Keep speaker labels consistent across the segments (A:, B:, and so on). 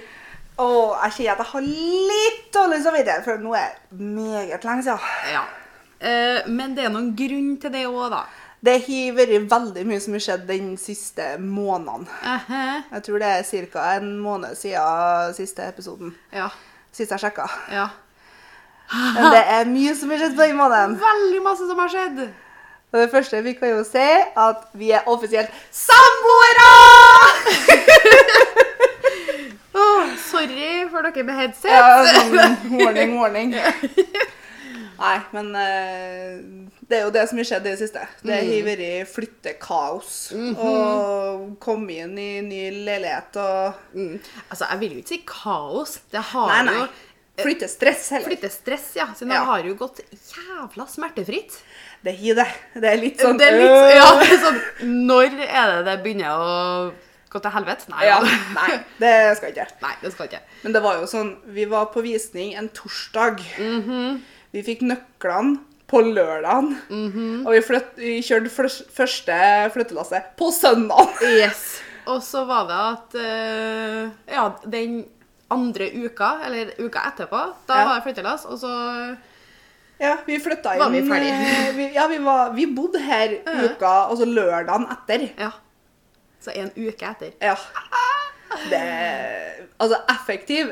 A: Å, jeg sier at jeg har litt dårlig samvittighet, for nå er det meget lenge siden.
B: Ja. Eh, men det er noen grunn til det òg, da.
A: Det har vært veldig mye som har skjedd den siste måneden.
B: Ehe.
A: Jeg tror det er ca. en måned siden siste episoden.
B: Ja.
A: Sist jeg sjekka.
B: ja.
A: Men det er mye som har skjedd på den måneden.
B: Veldig masse som har skjedd.
A: Og det første vi kan jo si, at vi er offisielt samboere!
B: Åh, sorry for dere med headset.
A: Ja, sånn warning, warning. Nei, men eh, det er jo det som har skjedd i det siste. Det
B: Mm.
A: har vært flyttekaos.
B: Mhm.
A: Og kommet inn i ny leilighet og
B: Mm. Altså, jeg vil jo ikke si kaos. Det har
A: Nei, nei.
B: jo
A: Flyttestress heller.
B: flyttestress, ja. Så nå
A: Ja.
B: har jo gått jævla smertefritt.
A: Det har det. Det er litt sånn
B: det er
A: øh,
B: litt ja, det er sånn Når er det det begynner å gå til helvete? Nei.
A: ja.
B: da.
A: Nei, det skal ikke.
B: nei, det skal ikke.
A: Men det var jo sånn Vi var på visning en torsdag.
B: Mhm.
A: Vi fikk nøklene på lørdagen.
B: Mhm.
A: Og vi, flytt, vi kjørte flørs- første flyttelasset på søndag.
B: Yes. Og så var det at eh, Ja, den andre uka, eller uka etterpå, da
A: Ja.
B: var det flyttelass, og så
A: Ja, vi flytta inn
B: Var vi ferdig?
A: eh, Vi, ja, vi, var, vi bodde her uka, altså lørdagen etter.
B: Ja. Så en uke etter.
A: Ja. Det Altså, effektiv,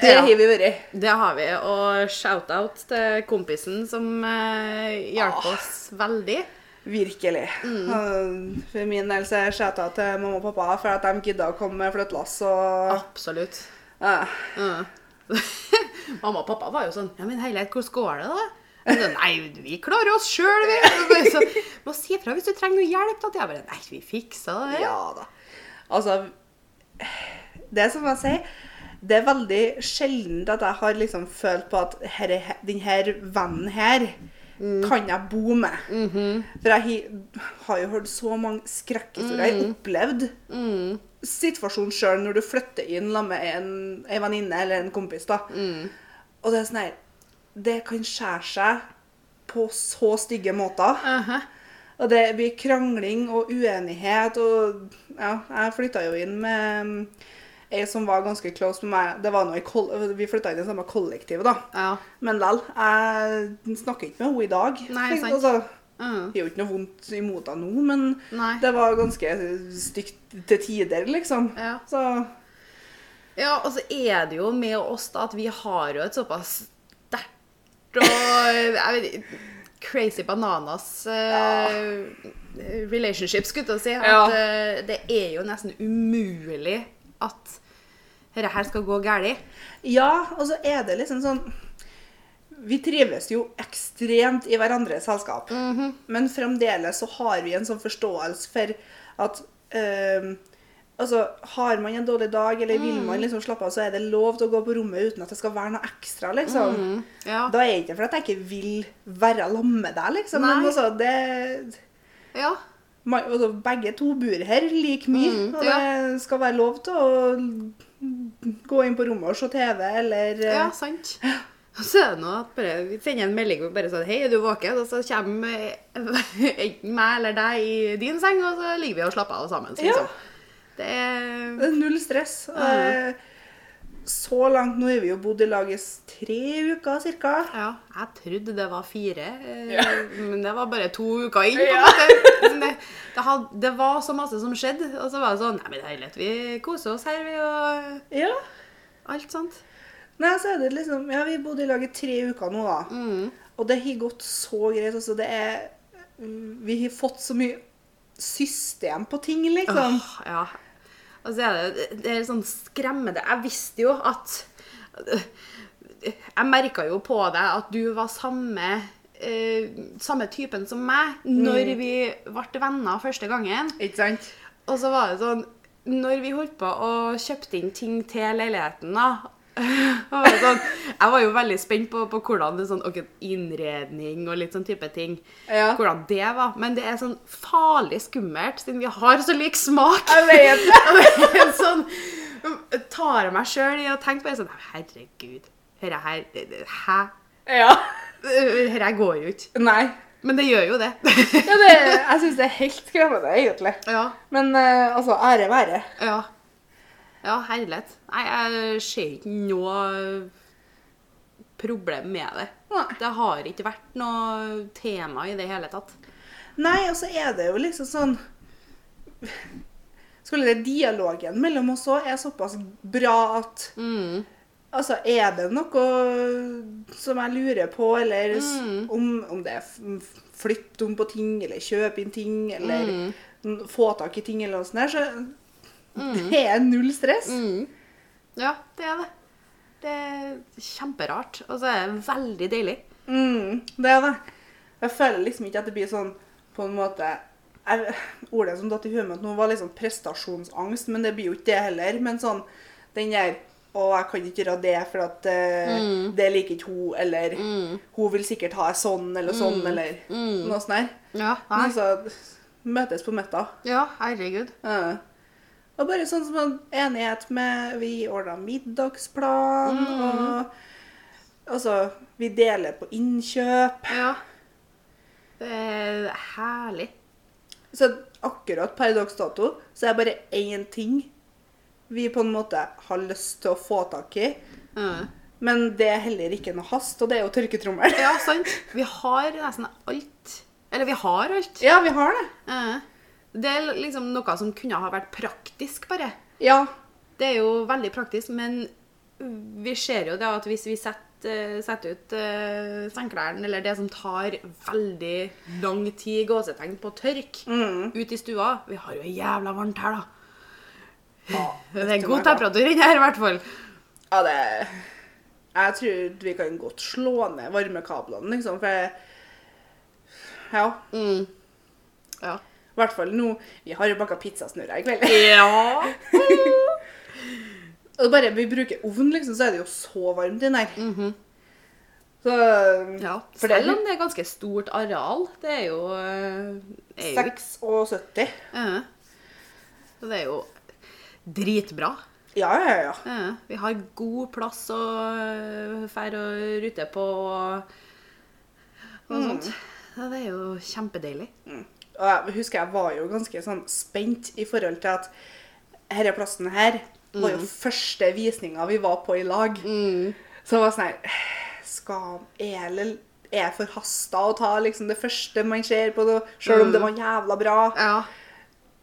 A: det
B: Ja.
A: har vi vært.
B: Det har vi. Og shout-out til kompisen som eh, hjalp
A: Ah.
B: oss veldig.
A: Virkelig.
B: Mm.
A: Eh, For min del så skjæta jeg til mamma og pappa for at de gidda å komme med flyttelass og
B: Absolutt.
A: eh.
B: Mm. Mamma og pappa var jo sånn Ja, men herlighet, hvordan går det, da? Jeg sa, Nei, vi klarer oss sjøl, vi. Og bare sånn, Må si ifra hvis du trenger noe hjelp. Da. Jeg bare Nei, vi fikser det.
A: Ja da. Altså Det er som jeg sier, det er veldig sjelden at jeg har liksom følt på at her, er he- den her vennen her kan jeg bo med. For jeg hi- har jo hørt så mange skrekkhistorier. Jeg har opplevd situasjonen sjøl når du flytter inn sammen med en, en venninne eller en kompis. da.
B: Mm.
A: Og det er sånn her Det kan skjære seg på så stygge måter.
B: Aha.
A: Og det blir krangling og uenighet, og ja, jeg flytta jo inn med mm, ei som var ganske close med meg. Det var noe i koll vi flytta inn i samme kollektiv, da.
B: ja.
A: Men lell, jeg snakker ikke med henne i dag.
B: Nei,
A: Tenk,
B: sant.
A: Altså,
B: Mm.
A: det er jo ikke noe vondt imot henne nå, men
B: Nei.
A: det var ganske stygt til tider, liksom.
B: Ja.
A: Så
B: Ja, og så er det jo med oss da at vi har jo et såpass sterkt og jeg vet, ikke, crazy bananas eh, relationship, skulle jeg til å si. At
A: Ja.
B: eh, det er jo nesten umulig at dette her skal gå galt.
A: Ja, og så er det liksom sånn Vi trives jo ekstremt i hverandres selskap.
B: Mhm.
A: Men fremdeles så har vi en sånn forståelse for at ehm, Altså, Har man en dårlig dag, eller vil man
B: Mm.
A: liksom slappe av, så er det lov til å gå på rommet uten at det skal være noe ekstra, liksom.
B: Mhm. Ja.
A: Da er det ikke fordi at jeg ikke vil være sammen med deg, liksom. Men
B: Nei.
A: altså, det
B: ja.
A: man, altså, begge to bor her like mye,
B: Mm,
A: og det skal være lov til å gå inn på rommet og se TV, eller eh,
B: Ja, sant. Og så er det noe at bare, vi sender en melding og bare sånn Hei, er du våken? Og så kommer eh, enten meg eller deg i din seng, og så ligger vi og slapper av sammen. så
A: Ja.
B: Liksom. Det er
A: Det er Null stress. Og, eh, Så langt nå har vi jo bodd i lag i s- tre uker cirka.
B: Ja, jeg trodde det var fire, eh,
A: Ja.
B: men det var bare to uker inn. på en
A: Ja.
B: måte. Men Det, det, had, det var så masse som skjedde, og så var det sånn Nei, men herlighet, vi koser oss her, vi, og
A: Ja.
B: alt sånt.
A: Nei, så er det liksom Ja, vi bodde i lag i tre uker nå, da. Og det har gått så greit. Altså, det er mm, Vi har fått så mye system på ting, liksom.
B: Åh, ja. Sånn. Og så er det, det er sånn skremmende Jeg visste jo at Jeg merka jo på deg at du var samme eh, samme typen som meg når vi ble venner første gangen.
A: Ikke sant?
B: Og så var det sånn Når vi holdt på og kjøpte inn ting til leiligheten, da og var det sånn, Jeg var jo veldig spent på, på hvordan det sånn, ok, innredning og litt sånn type ting
A: Ja.
B: Hvordan det var. Men det er sånn farlig skummelt, siden vi har så lik smak.
A: Jeg vet det.
B: Og det er sånn, tar jeg meg sjøl i å tenke på det sånn Herregud, herre her det- det- Hæ?
A: Ja.
B: Herre her går jo ikke.
A: Nei.
B: Men det gjør jo det.
A: Ja, det, jeg syns det er helt skremmende, egentlig.
B: ja.
A: Men eh, altså, ære være.
B: Ja. Ja, herlighet. Nei, jeg ser ikke noe problem med det.
A: Nei.
B: Det har ikke vært noe tema i det hele tatt.
A: Nei, og så er det jo liksom sånn Skulle det dialogen mellom oss òg er såpass bra at
B: Mm.
A: Altså, er det noe som jeg lurer på, eller s-
B: Mm.
A: om, om det er f- f- flytt om på ting, eller kjøpe inn ting, eller n- få tak i ting, eller noe sånt der, så det er null stress.
B: Mm. Ja, det er det. Det er kjemperart, og så er det veldig deilig.
A: Mm, det er det. Jeg føler liksom ikke at det blir sånn på en måte jeg, Ordet som datt i huet mitt nå, var liksom prestasjonsangst, men det blir jo ikke det heller. Men sånn den der Å, jeg kan ikke gjøre det, for at eh, det liker ikke hun, eller Hun vil sikkert ha ei sånn eller sånn, eller noe sånt der.
B: Ja,
A: Men så møtes på midten.
B: ja herregud.
A: Ja. Og bare sånn som en enighet med Vi ordna middagsplan, og Altså, vi deler på innkjøp.
B: Ja. Det er herlig.
A: Så akkurat per dags dato så er det bare én ting vi på en måte har lyst til å få tak i.
B: Mm.
A: Men det er heller ikke noe hast, og det er jo tørketrommel.
B: Ja, sant. Vi har nesten alt. Eller vi har alt.
A: Ja, vi har det.
B: Eh, Det er liksom noe som kunne ha vært praktisk, bare.
A: Ja.
B: Det er jo veldig praktisk, men vi ser jo det at hvis vi setter, setter ut uh, sandklærne, eller det som tar veldig lang tid i gåsetegn på tørk,
A: Mm.
B: ut i stua Vi har jo jævla varmt her, da.
A: Ja,
B: Det er
A: vet du
B: god
A: hva, da?
B: temperatur inne her, i hvert fall.
A: Ja, det Jeg tror vi kan godt slå ned varmekablene, liksom, for jeg- Ja.
B: Ja.
A: I hvert fall nå. Vi har jo baka pizzasnurrer i kveld.
B: ja.
A: Og bare vi bruker ovn, liksom, så er det jo så varmt inni her. Så For det er
B: Mhm. Selv om det er ganske stort areal. Det er jo, eh, er jo ikke-
A: 6 og 70.
B: Eh. Så det er jo dritbra.
A: Ja, ja, ja.
B: Ja, vi har god plass å øh, fære og rute på og, og sånt. Ja, det er jo kjempedeilig.
A: Mm. Og jeg husker jeg var jo ganske sånn spent i forhold til at herre plassen her var jo første visninga vi var på i lag. Så jeg var sånn her Skal Er det- er jeg forhasta å ta liksom det første man ser på, det, selv om det var jævla bra?
B: Ja.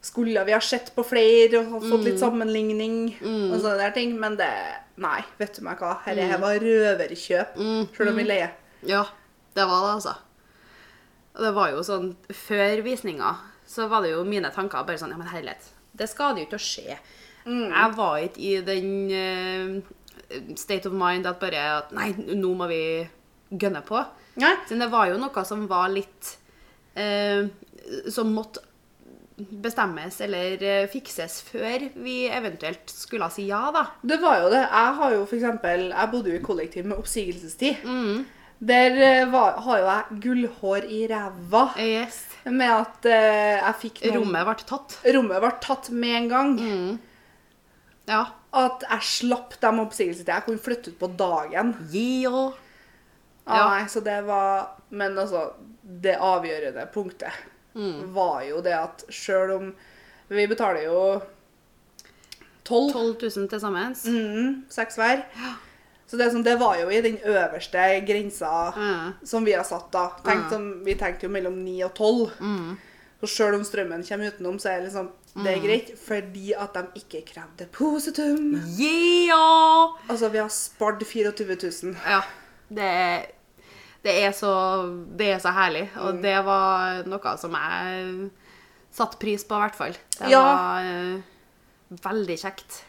A: Skulle vi ha sett på flere og fått litt sammenligning? og sånne der ting, Men det Nei, vet du meg hva. Herre her var røverkjøp, selv om vi leier.
B: ja, det var det, altså. Og det var jo sånn, Før visninga så var det jo mine tanker bare sånn Ja, men herlighet, det skal det jo ikke å skje. Jeg var ikke i den øh, state of mind at bare at, Nei, nå må vi gønne på.
A: Nei.
B: Siden det var jo noe som var litt eh, Som måtte bestemmes eller eh, fikses før vi eventuelt skulle si ja, da.
A: Det var jo det. Jeg har jo for eksempel, jeg bodde jo i kollektiv med oppsigelsestid.
B: Mm.
A: Der eh, var, har jo jeg gullhår i ræva
B: Yes.
A: med at eh, jeg fikk noen...
B: Rommet Mm. ble tatt.
A: Rommet ble tatt med en gang.
B: Ja.
A: At jeg slapp dem oppsigelsestid. Jeg kunne flytte ut på dagen.
B: Gi og
A: Ah,
B: Ja.
A: Nei, så det var Men altså, det avgjørende punktet
B: Mm.
A: var jo det at sjøl om Vi betaler jo
B: 12 000 til sammen.
A: Mm, seks hver. Så det, er sånn, det var jo i den øverste grensa
B: Mm.
A: som vi har satt da. Tenkt som, vi tenkte jo mellom 9 og 12. Så selv om strømmen kommer utenom, så er det liksom, det er greit, fordi at de ikke krevde positum.
B: Gi og
A: Altså, vi har spart 24 000.
B: Ja. Det, det, er så, det er så herlig. Og det var noe som jeg satte pris på, i hvert fall. Det
A: Ja.
B: var eh, veldig kjekt.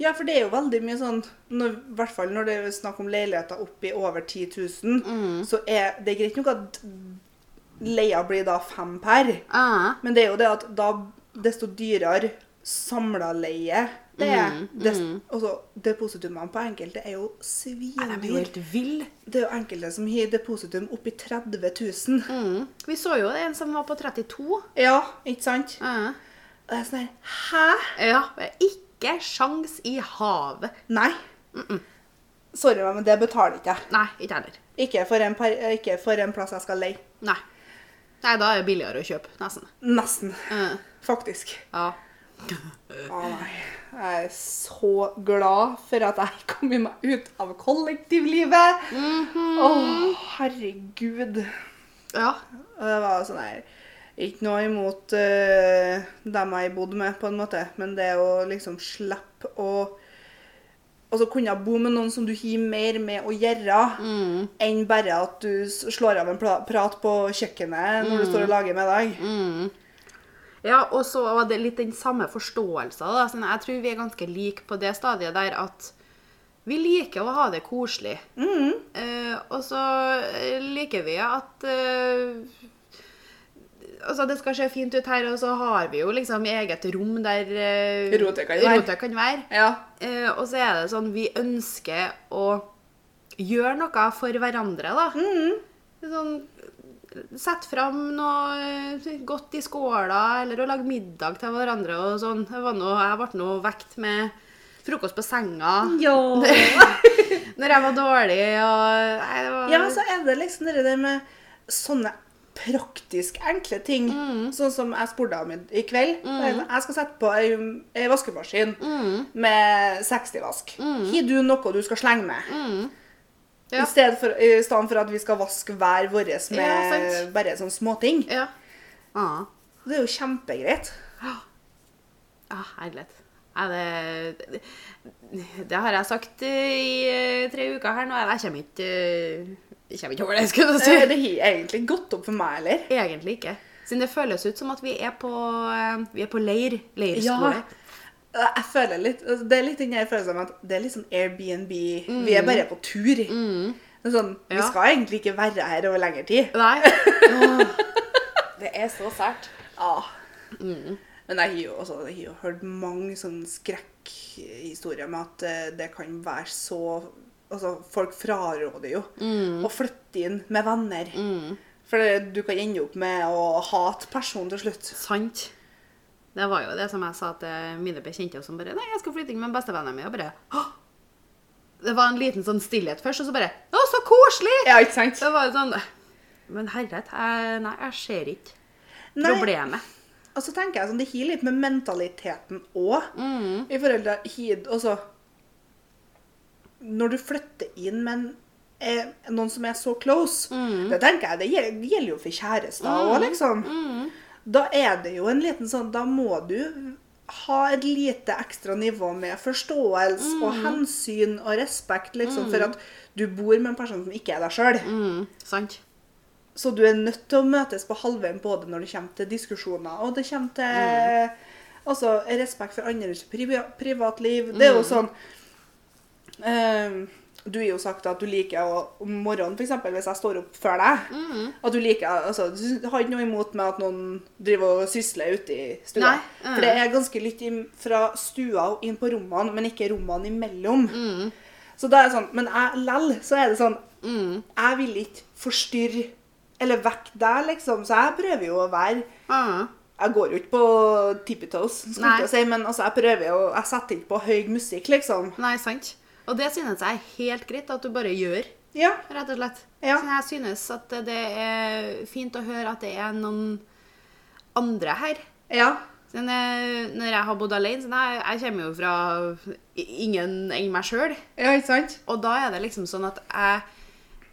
A: Ja, for det er jo veldig mye sånn, når, i hvert fall når det er snakk om leiligheter oppi over 10 000, så er det greit nok at leia blir da fem per.
B: Ah.
A: Men det er jo det at da desto dyrere samla leie det er. Des, altså, depositumene på enkelte er jo
B: Nei, de er jo
A: svindyr.
B: helt vill.
A: Det er jo enkelte som har depositum oppi 30 000.
B: Vi så jo en som var på 32.
A: Ja, ikke sant?
B: Ja.
A: Og jeg er sånn her Hæ?
B: men Ikke sjans i havet.
A: Nei. Sorry, men det betaler ikke jeg.
B: Nei, ikke heller.
A: Ikke for en, par, ikke for en plass jeg skal leie.
B: Nei. Nei, da er det billigere å kjøpe, nesten.
A: Nesten.
B: Ja.
A: Faktisk.
B: Ja.
A: Å nei. Jeg er så glad for at jeg kom meg ut av kollektivlivet. Å, herregud.
B: Ja.
A: Og det var sånn her Ikke noe imot eh, dem jeg bodde med, på en måte, men det å liksom slippe å Altså kunne bo med noen som du har mer med å gjøre, enn bare at du s- slår av en pla- prat på kjøkkenet når du står og lager middag.
B: Ja, og så var det litt den samme forståelsen. Da. Sånn, jeg tror vi er ganske like på det stadiet der at vi liker å ha det koselig. Eh, og så eh, liker vi at eh, Altså, det skal se fint ut her, og så har vi jo liksom eget rom der eh,
A: Rotet kan være.
B: rotet kan være.
A: Ja.
B: Eh, og så er det sånn vi ønsker å gjøre noe for hverandre, da. Sånn Sette fram noe eh, godt i skåla, eller å lage middag til hverandre og sånn. Jeg, var nå- jeg ble nå vekt med frokost på senga når jeg var dårlig og Nei, det var
A: Ja, men så er det liksom det der med sånne praktisk enkle ting.
B: Mm.
A: Sånn som jeg spurte om i, i kveld. sånn, Jeg skal sette på ei, ei vaskemaskin
B: Mm.
A: med 60-vask. Har du noe du skal slenge med?
B: Mm. Ja.
A: I, stedet for, I stedet for at vi skal vaske hver vår
B: Ja,
A: med
B: sant.
A: bare sånne småting.
B: Ja. Ah.
A: Det er jo kjempegreit.
B: Ja, herlighet. Nei, det, det har jeg sagt eh, i eh, tre uker her nå. Jeg kommer ikke, eh, jeg kommer ikke over det, skulle jeg
A: Eh, Det
B: si.
A: har egentlig gått opp for meg, eller?
B: Egentlig ikke. Siden det føles ut som at vi er på, eh, vi er på leir. Leirskole.
A: Jeg føler litt, altså, Det er litt den her følelsen av at det er litt sånn Airbnb. Vi er bare på tur. Det er sånn, Vi
B: Ja.
A: skal egentlig ikke være her over lengre tid.
B: Nei. Det er så sært.
A: Ja. Ah. Men jeg har jo også jeg har jo hørt mange sånne skrekkhistorier med at eh, det kan være så Altså, folk fraråder jo å flytte inn med venner. For det- du kan ende opp med å hate personen til slutt.
B: Sant. Det var jo det som jeg sa til mine bekjente som bare Nei, jeg skal flytte inn med bestevennene mine. Og bare Hå! Det var en liten sånn stillhet først, og så bare Å, så koselig!
A: Ja, ikke sant?
B: Det var jo sånn Men herlighet, jeg, nei, jeg ser ikke
A: Nei.
B: problemet.
A: Og så tenker jeg sånn, det har litt med mentaliteten òg. I forhold til hid, altså Når du flytter inn med en, eh, noen som er så close Det tenker jeg, det gjelder, det gjelder jo for kjærester òg, liksom. Da er det jo en liten sånn Da må du ha et lite ekstra nivå med forståelse og hensyn og respekt, liksom, for at du bor med en person som ikke er deg sjøl.
B: Mm, sant.
A: Så du er nødt til å møtes på halvveien både når det kommer til diskusjoner og det kommer til altså, respekt for andres priva privatliv. Det er jo sånn eh, Du har jo sagt at du liker å om morgenen, f.eks. hvis jeg står opp før deg
B: Mm.
A: At du liker altså, Du har ikke noe imot med at noen driver og sysler ute i stua.
B: Nei, mm.
A: For det er ganske litt inn fra stua og inn på rommene, men ikke rommene imellom.
B: Mm.
A: Så da er det sånn, Men jeg, lell så er det sånn
B: Mm.
A: Jeg vil ikke forstyrre eller vekke deg, liksom. Så jeg prøver jo å være
B: Ah.
A: Jeg går jo ikke på tippetoes, skulle
B: Nei.
A: jeg si, men altså, jeg prøver jo Jeg setter ikke på høy musikk, liksom.
B: Nei, sant. Og det synes jeg er helt greit at du bare gjør,
A: Ja.
B: rett og slett.
A: Ja.
B: Så jeg synes at det er fint å høre at det er noen andre her.
A: Ja.
B: Så når når jeg har bodd alene, så nei, jeg kommer jo fra i- ingen enn meg selv.
A: Ja, ikke sant?
B: Og da er det liksom sånn at jeg,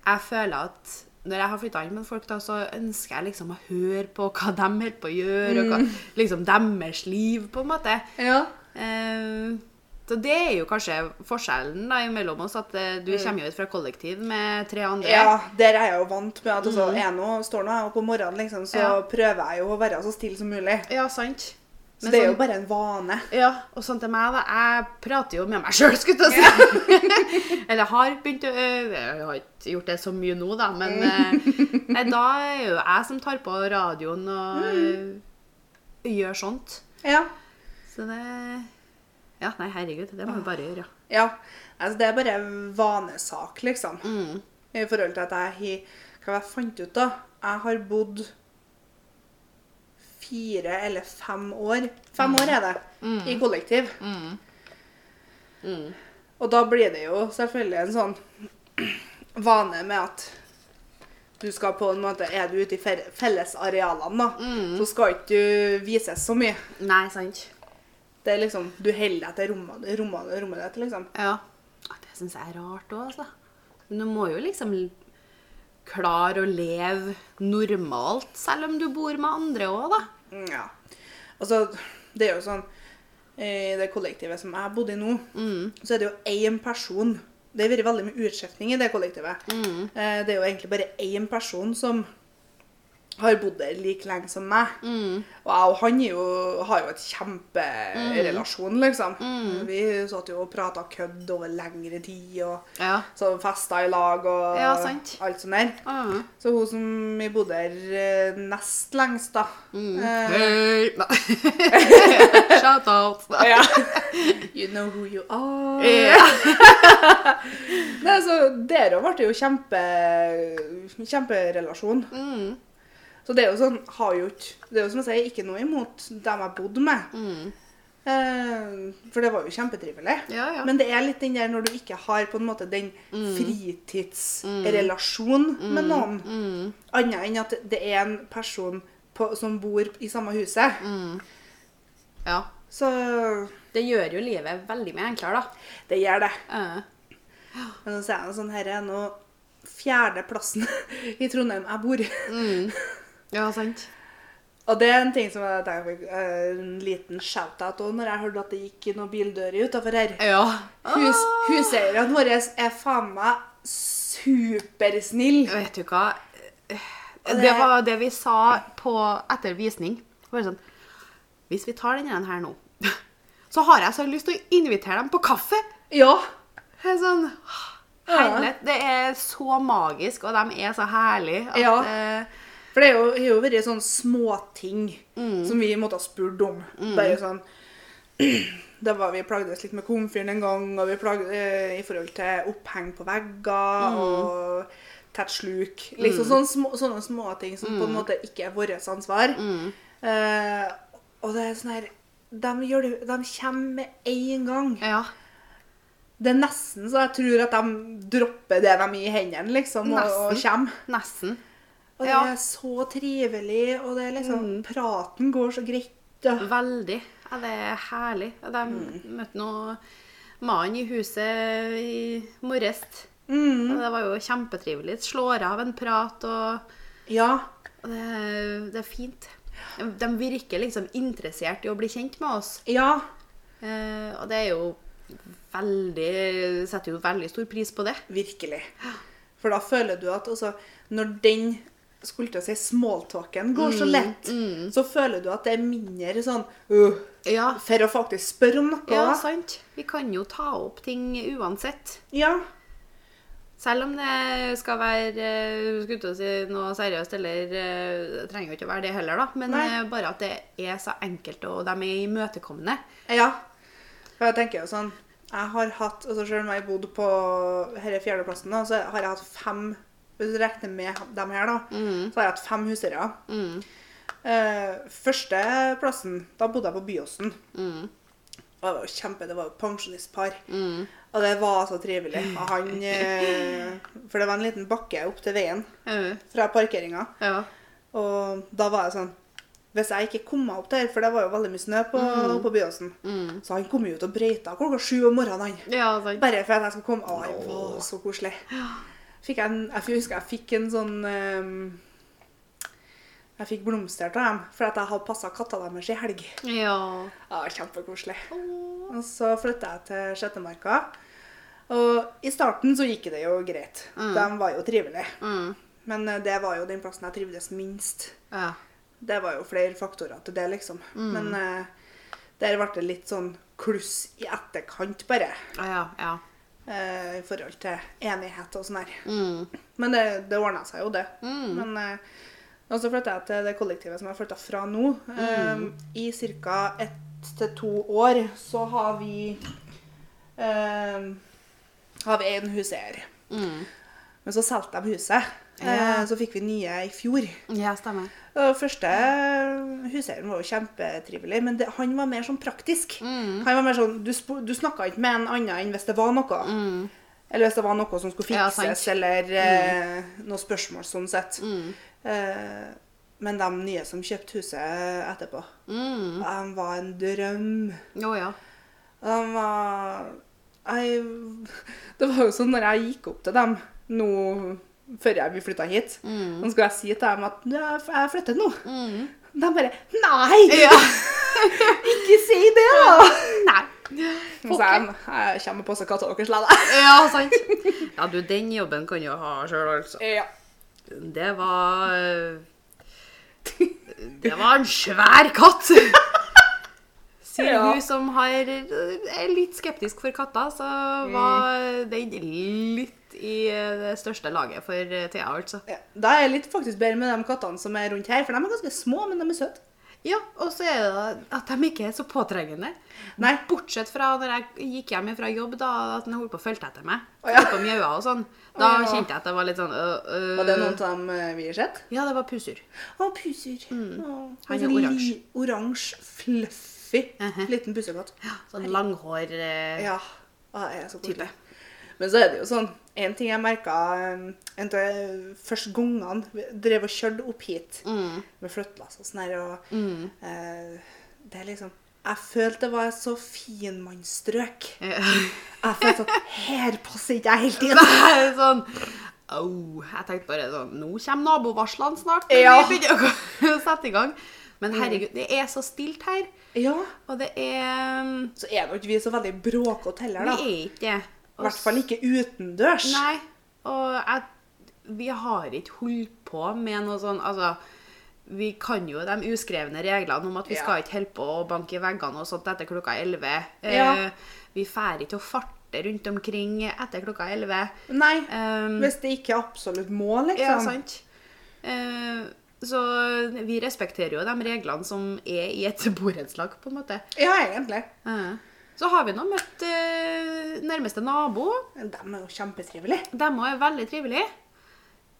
B: jeg føler at når jeg har flytta inn med folk, da, så ønsker jeg liksom å høre på hva de holder på å gjøre, og hva, liksom deres liv, på en måte.
A: Mm. Ja.
B: Eh, så det er jo kanskje forskjellen da, mellom oss, at eh, du kommer jo ut fra kollektiv med tre andre.
A: Mm. Ja, der er jeg jo vant med at altså, er nå, står nå jeg oppe om morgenen, liksom, så
B: Ja.
A: prøver jeg jo å være så stille som mulig.
B: Ja, sant.
A: Så
B: Men
A: det er
B: sånn-
A: jo bare en vane.
B: Ja, og sånn til meg, da. Jeg prater jo med meg sjøl, skulle jeg til å si. Eller har begynt å øve. Jeg har ikke gjort det så mye nå, da, men eh, nei, da er jo jeg som tar på radioen og
A: Mm.
B: eh, gjør sånt.
A: Ja.
B: Så det Ja, nei, herregud. Det
A: Ah.
B: må vi bare gjøre.
A: ja. Altså, det er bare en vanesak, liksom. I forhold til at jeg har Hva var det jeg fant ut, da? Jeg har bodd fire eller fem år Fem år er det. I kollektiv. Og da blir det jo selvfølgelig en sånn vane med at du skal på en måte, Er du ute i fer- fellesarealene, da, så skal ikke du vises så mye.
B: Nei, sant.
A: Det er liksom, Du holder deg til rommet rommet- rommet ditt, liksom.
B: Ja. Ah, Det syns jeg er rart òg, altså. Men du må jo liksom l- klare å leve normalt, selv om du bor med andre òg, da.
A: Ja. Altså, det er jo sånn I det kollektivet som jeg bodde i nå,
B: Mm.
A: så er det jo én person Det har vært veldig mye utskiftning i det kollektivet.
B: Mm.
A: Eh, Det er jo egentlig bare én person som har bodd der like lenge som meg.
B: Mm.
A: Og jeg og han er jo, har jo et kjemperelasjon, liksom.
B: Mm.
A: Vi satt jo og prata kødd over lengre tid, og
B: Ja.
A: så festa i lag og
B: Ja, sant.
A: alt sånt der.
B: Ah.
A: Så hun som vi bodde der eh, nest lengst, da
B: Mm.
A: eh,
B: Hei! Nei. Shout out.
A: ja. You know who you are.
B: Ja.
A: Nei, så Dere ble det jo kjempe, kjemperelasjon.
B: Mm.
A: Så det er jo sånn har jo ikke Det er jo som jeg sier, ikke noe imot dem jeg bodde med. Eh, for det var jo kjempetrivelig.
B: Mm. Ja, Mm. ja.
A: Men det er litt den der når du ikke har på en måte den fritidsrelasjonen
B: Mm.
A: med noen. Annet enn at det er en person på, som bor i samme huset.
B: ja.
A: Så
B: Det gjør jo livet veldig mye enklere, da.
A: det gjør det.
B: Eh,
A: Men så sier han sånn her er nå fjerdeplassen i Trondheim jeg bor.
B: Ja, sant.
A: Og det er en ting som jeg tenker på, eh, en liten shout-out òg, når jeg hørte at det gikk noen bildører utafor her.
B: Ja.
A: Hus, huseierne våre er faen meg supersnille.
B: Vet du hva?
A: det-
B: Det var det vi sa på etter visning. Det var sånn, Hvis vi tar denne her nå, så har jeg så lyst til å invitere dem på kaffe.
A: Ja.
B: Det er sånn,
A: Ja.
B: herlighet. Det er så magisk, og de er så herlige. At,
A: Ja.
B: eh,
A: For det er jo- har jo vært sånne småting som vi måtte ha spurt om. Bare sånn Da var vi plagdes litt med komfyren en gang, og vi plagde, eh, i forhold til oppheng på vegger og tett sluk. Liksom sånne, små, sånne småting som på en måte ikke er vårt ansvar. Eh, og det er sånn her de, gjør det, de kommer med én gang.
B: ja.
A: Det er nesten så jeg tror at de dropper det de har i hendene, liksom, og, og
B: Nesten.
A: kommer.
B: Nesten.
A: Og det
B: Ja.
A: er så trivelig, og det er liksom Praten går så greit. og-
B: Veldig. Ja, det er herlig. Og de møtte nå mannen i huset i morges. Og det var jo kjempetrivelig. Slår av en prat, og,
A: Ja.
B: og det, er- det er fint. De virker liksom interessert i å bli kjent med oss.
A: Ja.
B: Eh, og det er jo veldig Setter jo veldig stor pris på det.
A: Virkelig. For da føler du at også Når den skulle til å si smalltalken går
B: Mm,
A: så lett, så føler du at det er mindre sånn uh,
B: Ja.
A: For å faktisk spørre om noe.
B: ja, sant. Vi kan jo ta opp ting uansett.
A: ja.
B: Selv om det skal være eh, skulle til å si noe seriøst, eller eh, det trenger jo ikke å være det heller, da. Men
A: Nei.
B: eh, bare at det er så enkelt, og de er imøtekommende.
A: Ja. For jeg tenker jo sånn Jeg har hatt altså Selv om jeg bodde på denne fjerdeplassen, da, så har jeg hatt fem Hvis du regner med dem her, da, så har jeg hatt fem huseiere. Eh, første plassen, da bodde jeg på Byåsen. Og det var jo kjempe, det var jo pensjonistpar. Og det var så trivelig. Og han, eh, for det var en liten bakke opp til veien fra parkeringa.
B: Ja.
A: Og da var jeg sånn Hvis jeg ikke kom meg opp der, for det var jo veldig mye snø på, på Byåsen Så han kom jo ut og brøyta klokka sju om morgenen, han.
B: Ja, sant.
A: Bare for at jeg skulle komme. Å, det var så koselig. Fikk jeg, en, jeg husker jeg fikk en sånn ehm, Jeg fikk blomster av dem fordi at jeg hadde passa katta deres i helg.
B: Ja.
A: Ja, Kjempekoselig.
B: Åh.
A: Og så flytta jeg til Sjettemarka. Og i starten så gikk det jo greit. De var jo trivelige. Men eh, det var jo den plassen jeg trivdes minst.
B: Ja.
A: Det var jo flere faktorer til det, liksom. Men eh, der ble det litt sånn kluss i etterkant, bare.
B: Ja, ja, ja.
A: eh, I forhold til enighet og sånn her.
B: Mm,
A: Men det, det ordna seg jo, det. Men eh, og så flytta jeg til det kollektivet som jeg flytta fra nå. Eh, I ca. ett til to år så har vi eh, Har vi én huseier.
B: mm.
A: Men så solgte de huset. Eh,
B: Ja.
A: så fikk vi nye i fjor.
B: Ja, stemmer.
A: Og første huseieren var jo kjempetrivelig, men det, han var mer sånn praktisk. Han var mer sånn, Du, spo- du snakka ikke med en annen enn hvis det var noe. Eller hvis det var noe som skulle
B: Ja,
A: fikses,
B: sant.
A: eller eh, noe spørsmål sånn sett. Eh, Men de nye som kjøpte huset etterpå, de var en drøm.
B: Å ja.
A: Og De var jeg, Det var jo sånn når jeg gikk opp til dem nå før jeg vi flytta hit,
B: Mm.
A: så skulle jeg si til dem at «Nå, jeg flytter nå. De bare Nei!
B: ja.
A: Ikke si det, da!
B: Nei.
A: Så sa jeg jeg kommer på possekassa deres, la deg.
B: Ja, sant. Ja, du, den jobben kan du ha sjøl, altså.
A: Ja.
B: Det var eh, Det var en svær katt! Sier
A: Ja.
B: hun som har, eh, er litt skeptisk for katter, så var den litt i eh, det største laget for eh, Thea, altså.
A: Ja, Da er jeg litt faktisk bedre med de kattene som er rundt her, for de er ganske små, men de er søte.
B: Ja, og så er det at de ikke er så påtrengende.
A: Nei.
B: Bortsett fra når jeg gikk hjem fra jobb, da, at han holdt på å følge etter meg.
A: Å, ja.
B: Holdt på å mjaue og sånn. Da
A: Å, ja.
B: kjente jeg at det var litt sånn øh, øh.
A: Var det noen av dem eh, vi har sett?
B: Ja, det var pusur.
A: Å, puser. Å,
B: Mm. Han er
A: en li-
B: oransje.
A: Oransje, fluffy
B: Mhm.
A: liten pussekatt.
B: Sånn langhår eh,
A: Ja. Å, jeg er så
B: type.
A: koselig. Men så er det jo sånn En ting jeg merka en av første gangene vi drev og kjørte opp hit
B: Mm.
A: med flyttelass og sånn her, og eh, Det er liksom Jeg følte det var så finmannsstrøk.
B: Eh,
A: Jeg følte at her passer ikke jeg helt inn.
B: Nei, sånn Au. Jeg tenkte bare sånn Nå kommer nabovarslene snart. når
A: Ja. Mm.
B: Vi begynner å gå- sette i gang. Men herregud, det er så stilt her.
A: Ja.
B: Og det er mm,
A: så er jo ikke vi så veldig bråkete heller,
B: Vi
A: da.
B: er ikke det.
A: I hvert fall ikke utendørs.
B: Nei. Og jeg, vi har ikke holdt på med noe sånn Altså, vi kan jo de uskrevne reglene om at vi
A: Ja.
B: skal ikke holde på å banke i veggene og sånt etter klokka 11.
A: Ja.
B: Eh, vi drar ikke og farter rundt omkring etter klokka 11.
A: Nei,
B: Um,
A: Hvis det ikke er absolutt må, liksom.
B: ja, sant. Eh, så vi respekterer jo de reglene som er i et borettslag, på en måte.
A: Ja, egentlig.
B: Eh, så har vi nå møtt eh, nærmeste nabo.
A: De er jo kjempetrivelige.
B: De òg er veldig trivelige.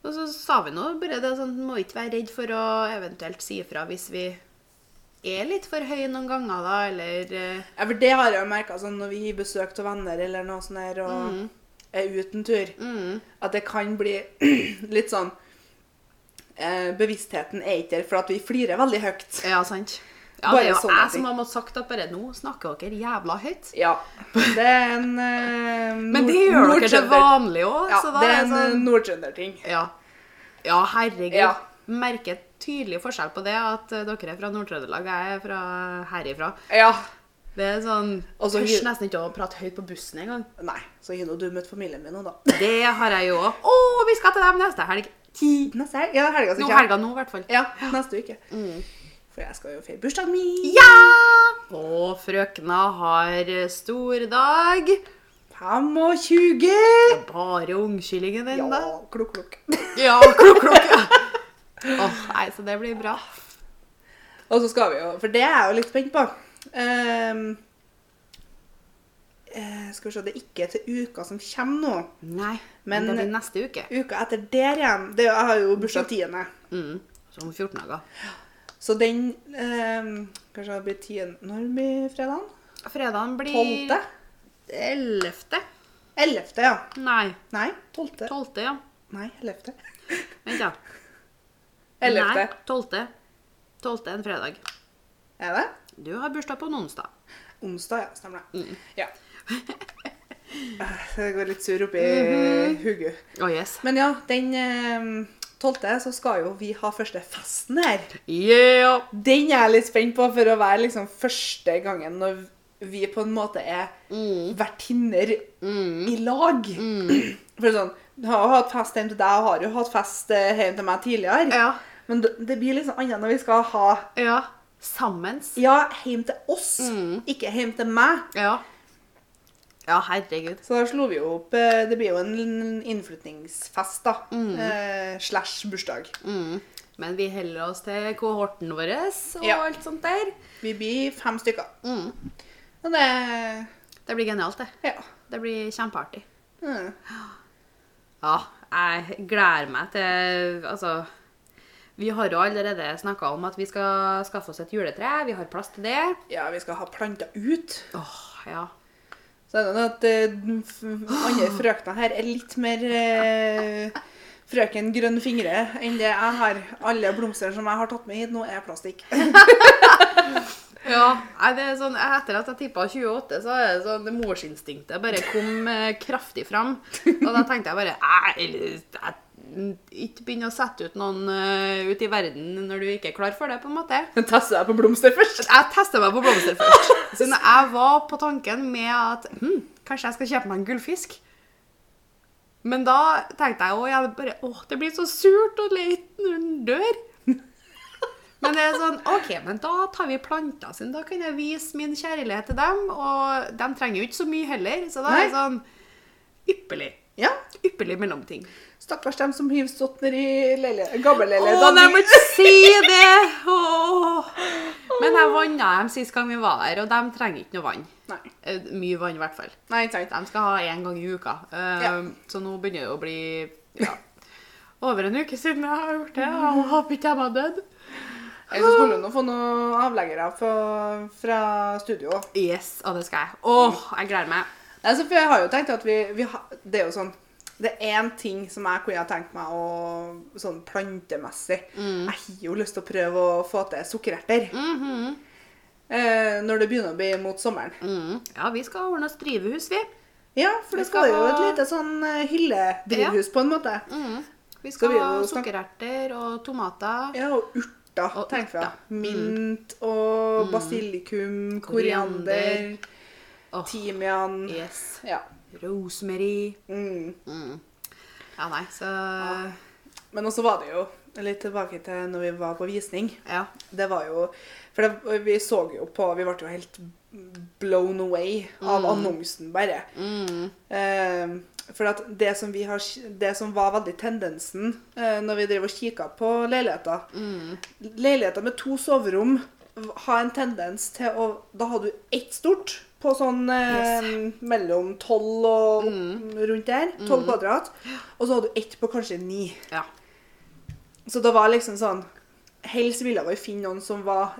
B: Og så sa vi nå bare det sånn, må ikke være redd for å eventuelt si ifra hvis vi er litt for høye noen ganger, da, eller eh,
A: Ja, for det har jeg jo merka sånn når vi har besøk av venner eller noe sånt her, og er ute en tur, at det kan bli litt sånn eh, Bevisstheten er ikke der, for at vi flirer veldig høyt.
B: Ja, sant. Ja, det
A: Bare
B: er jo
A: sånne
B: jeg
A: ting.
B: som har måttet sagt at bare nå snakker dere jævla høyt.
A: Ja. Det er en eh,
B: Men det gjør dere til
A: nordtrønder-
B: vanlig òg,
A: Ja,
B: så da
A: det er
B: er
A: en
B: det
A: eh,
B: sånn
A: nordtrønderting.
B: Ja, ja herregud.
A: Ja.
B: Merker tydelig forskjell på det, at eh, dere er fra Nord-Trøndelag, jeg er fra herifra.
A: Ja.
B: Det er sånn
A: Og så-
B: Tør nesten ikke å prate høyt på bussen engang.
A: Nei, så har nå du møtt familien min nå, da.
B: Det har jeg jo òg. Å, vi skal til dem neste helg.
A: Neste helg? Ja, helga som
B: Nå
A: kommer.
B: helga nå, i hvert fall.
A: Ja, Mm. neste uke. For jeg skal jo feire bursdagen min.
B: Ja! Og frøkna har stor dag.
A: 25!
B: Bare ungkyllingen din,
A: Ja,
B: da.
A: klokk, klokk.
B: Ja, klokk, klokk. Ja. Åh, nei, så det blir bra.
A: Og så skal vi jo For det er jeg jo litt spent på. Ehm, eh, skal vi se Det er ikke til uka som kommer nå.
B: Nei,
A: Men-
B: men det blir neste uke.
A: Uka etter der igjen. Det er, jo- jeg har jo bursdag 10.
B: Mm. Så om 14 dager.
A: Så den ehm, Kanskje det blir 10. Når blir fredagen?
B: Fredagen blir
A: 12.?
B: 11.
A: 11., ja.
B: Nei,
A: Nei, 12.
B: 12., ja.
A: Nei, 11.
B: Vent, ja.
A: 11.
B: Nei, 12. 12. en fredag.
A: Er det?
B: Du har bursdag på en onsdag.
A: Onsdag, ja. Stemmer det. Ja. Ah, Det går litt sur oppi hodet.
B: Å, Oh, yes.
A: Men ja, den eh, 12. så skal jo vi ha første festen her.
B: Yeah!
A: Den er jeg litt spent på for å være liksom første gangen når vi på en måte er vertinner i lag. For sånn, du har jo hatt fest hjemme til deg, og har jo hatt fest eh, hjemme til meg tidligere.
B: Ja.
A: Men d- det blir liksom annet når vi skal ha
B: Ja. Sammens.
A: ja, hjem til oss, ikke hjem til meg.
B: Ja. Ja, herregud.
A: Så da slo vi jo opp eh, Det blir jo en innflytningsfest, da. Eh, slash bursdag.
B: Mm. Men vi holder oss til kohorten vår og
A: Ja.
B: alt sånt der.
A: Vi blir fem stykker. Mm. Og det
B: Det blir genialt, det.
A: Ja.
B: Det blir kjempeartig.
A: Mm.
B: Ja, jeg gleder meg til Altså, vi har jo allerede snakka om at vi skal skaffe oss et juletre. Vi har plass til det.
A: ja, vi skal ha planta ut.
B: Åh, ja.
A: Så er det noe at eh, den f- andre frøkna her er litt mer eh, frøken grønn fingre enn det jeg har. Alle blomstene som jeg har tatt med hit nå, er plastikk.
B: Ja, nei, det er sånn, Etter at jeg tippa 28, så er det sånn morsinstinktet bare kom eh, kraftig fram. Og da tenkte jeg bare "Nei, jeg- Ikke begynn å sette ut noen eh, ut i verden når du ikke er klar for det, på en måte.
A: Teste deg på blomster først.
B: Jeg testa meg på blomster først. Så når jeg var på tanken med at hm, kanskje jeg skal kjøpe meg en gullfisk Men da tenkte jeg også, jeg bare, åh, det blir så surt og leit når den dør. Men det er sånn, ok, men da tar vi planta sin, da kan jeg vise min kjærlighet til dem, og de trenger jo ikke så mye heller, så da er det sånn ypperlig.
A: Ja.
B: Ypperlig mellomting.
A: Stakkars dem som hiver stått nedi gammelleiligheten.
B: Å, nei, jeg må ikke si det! Åh. Men jeg vanna dem sist gang vi var her, og de trenger ikke noe vann.
A: Nei.
B: Eh, Mye vann, i hvert fall.
A: Nei, ikke sant.
B: De skal ha én gang i uka. Eh,
A: Ja.
B: Så nå begynner det å bli ja, over en uke siden jeg har gjort det. Og jeg håper ikke de har dødd.
A: Eller så skulle hun nå få noen avleggere fra, fra studio.
B: Yes, og det skal jeg. Åh, jeg gleder meg.
A: Altså, for jeg har jo tenkt at vi, vi ha, Det er jo sånn Det er én ting som jeg kunne ha tenkt meg å Sånn plantemessig.
B: Mm.
A: Jeg har jo lyst til å prøve å få til sukkererter.
B: Mhm,
A: eh, når det begynner å bli mot sommeren.
B: Mm. Ja, vi skal ordne oss drivhus, vi.
A: Ja, for
B: Vi
A: det
B: skal
A: skal jo et
B: ha- Mm.
A: lite sånn eh, hylledrivhus på en måte.
B: Vi
A: Mhm. Skal
B: skal,
A: vi
B: ha
A: jo snakke-
B: sukkererter og tomater.
A: Ja, og urter,
B: Og
A: tenker
B: urter. Mm.
A: jeg. Mint og basilikum,
B: Koriander.
A: koriander,
B: Åh,
A: timian.
B: yes.
A: Ja.
B: Rosemary.
A: Mm.
B: Mm. Ja, nei, så
A: Men også var det jo Litt tilbake til når vi var på visning.
B: Ja.
A: Det var jo For det, vi så jo på Vi ble jo helt blown away av annonsen, bare.
B: Mm.
A: Eh, for at det som, vi har, det som var veldig tendensen eh, når vi drev og kikka på leiligheter Leiligheter med to soverom har en tendens til å Da har du ett stort på sånn eh, mellom tolv og rundt der. Tolv kvadrat. Og så har du ett på kanskje ni.
B: Ja.
A: Så det var liksom sånn Helst ville vi finne noen som var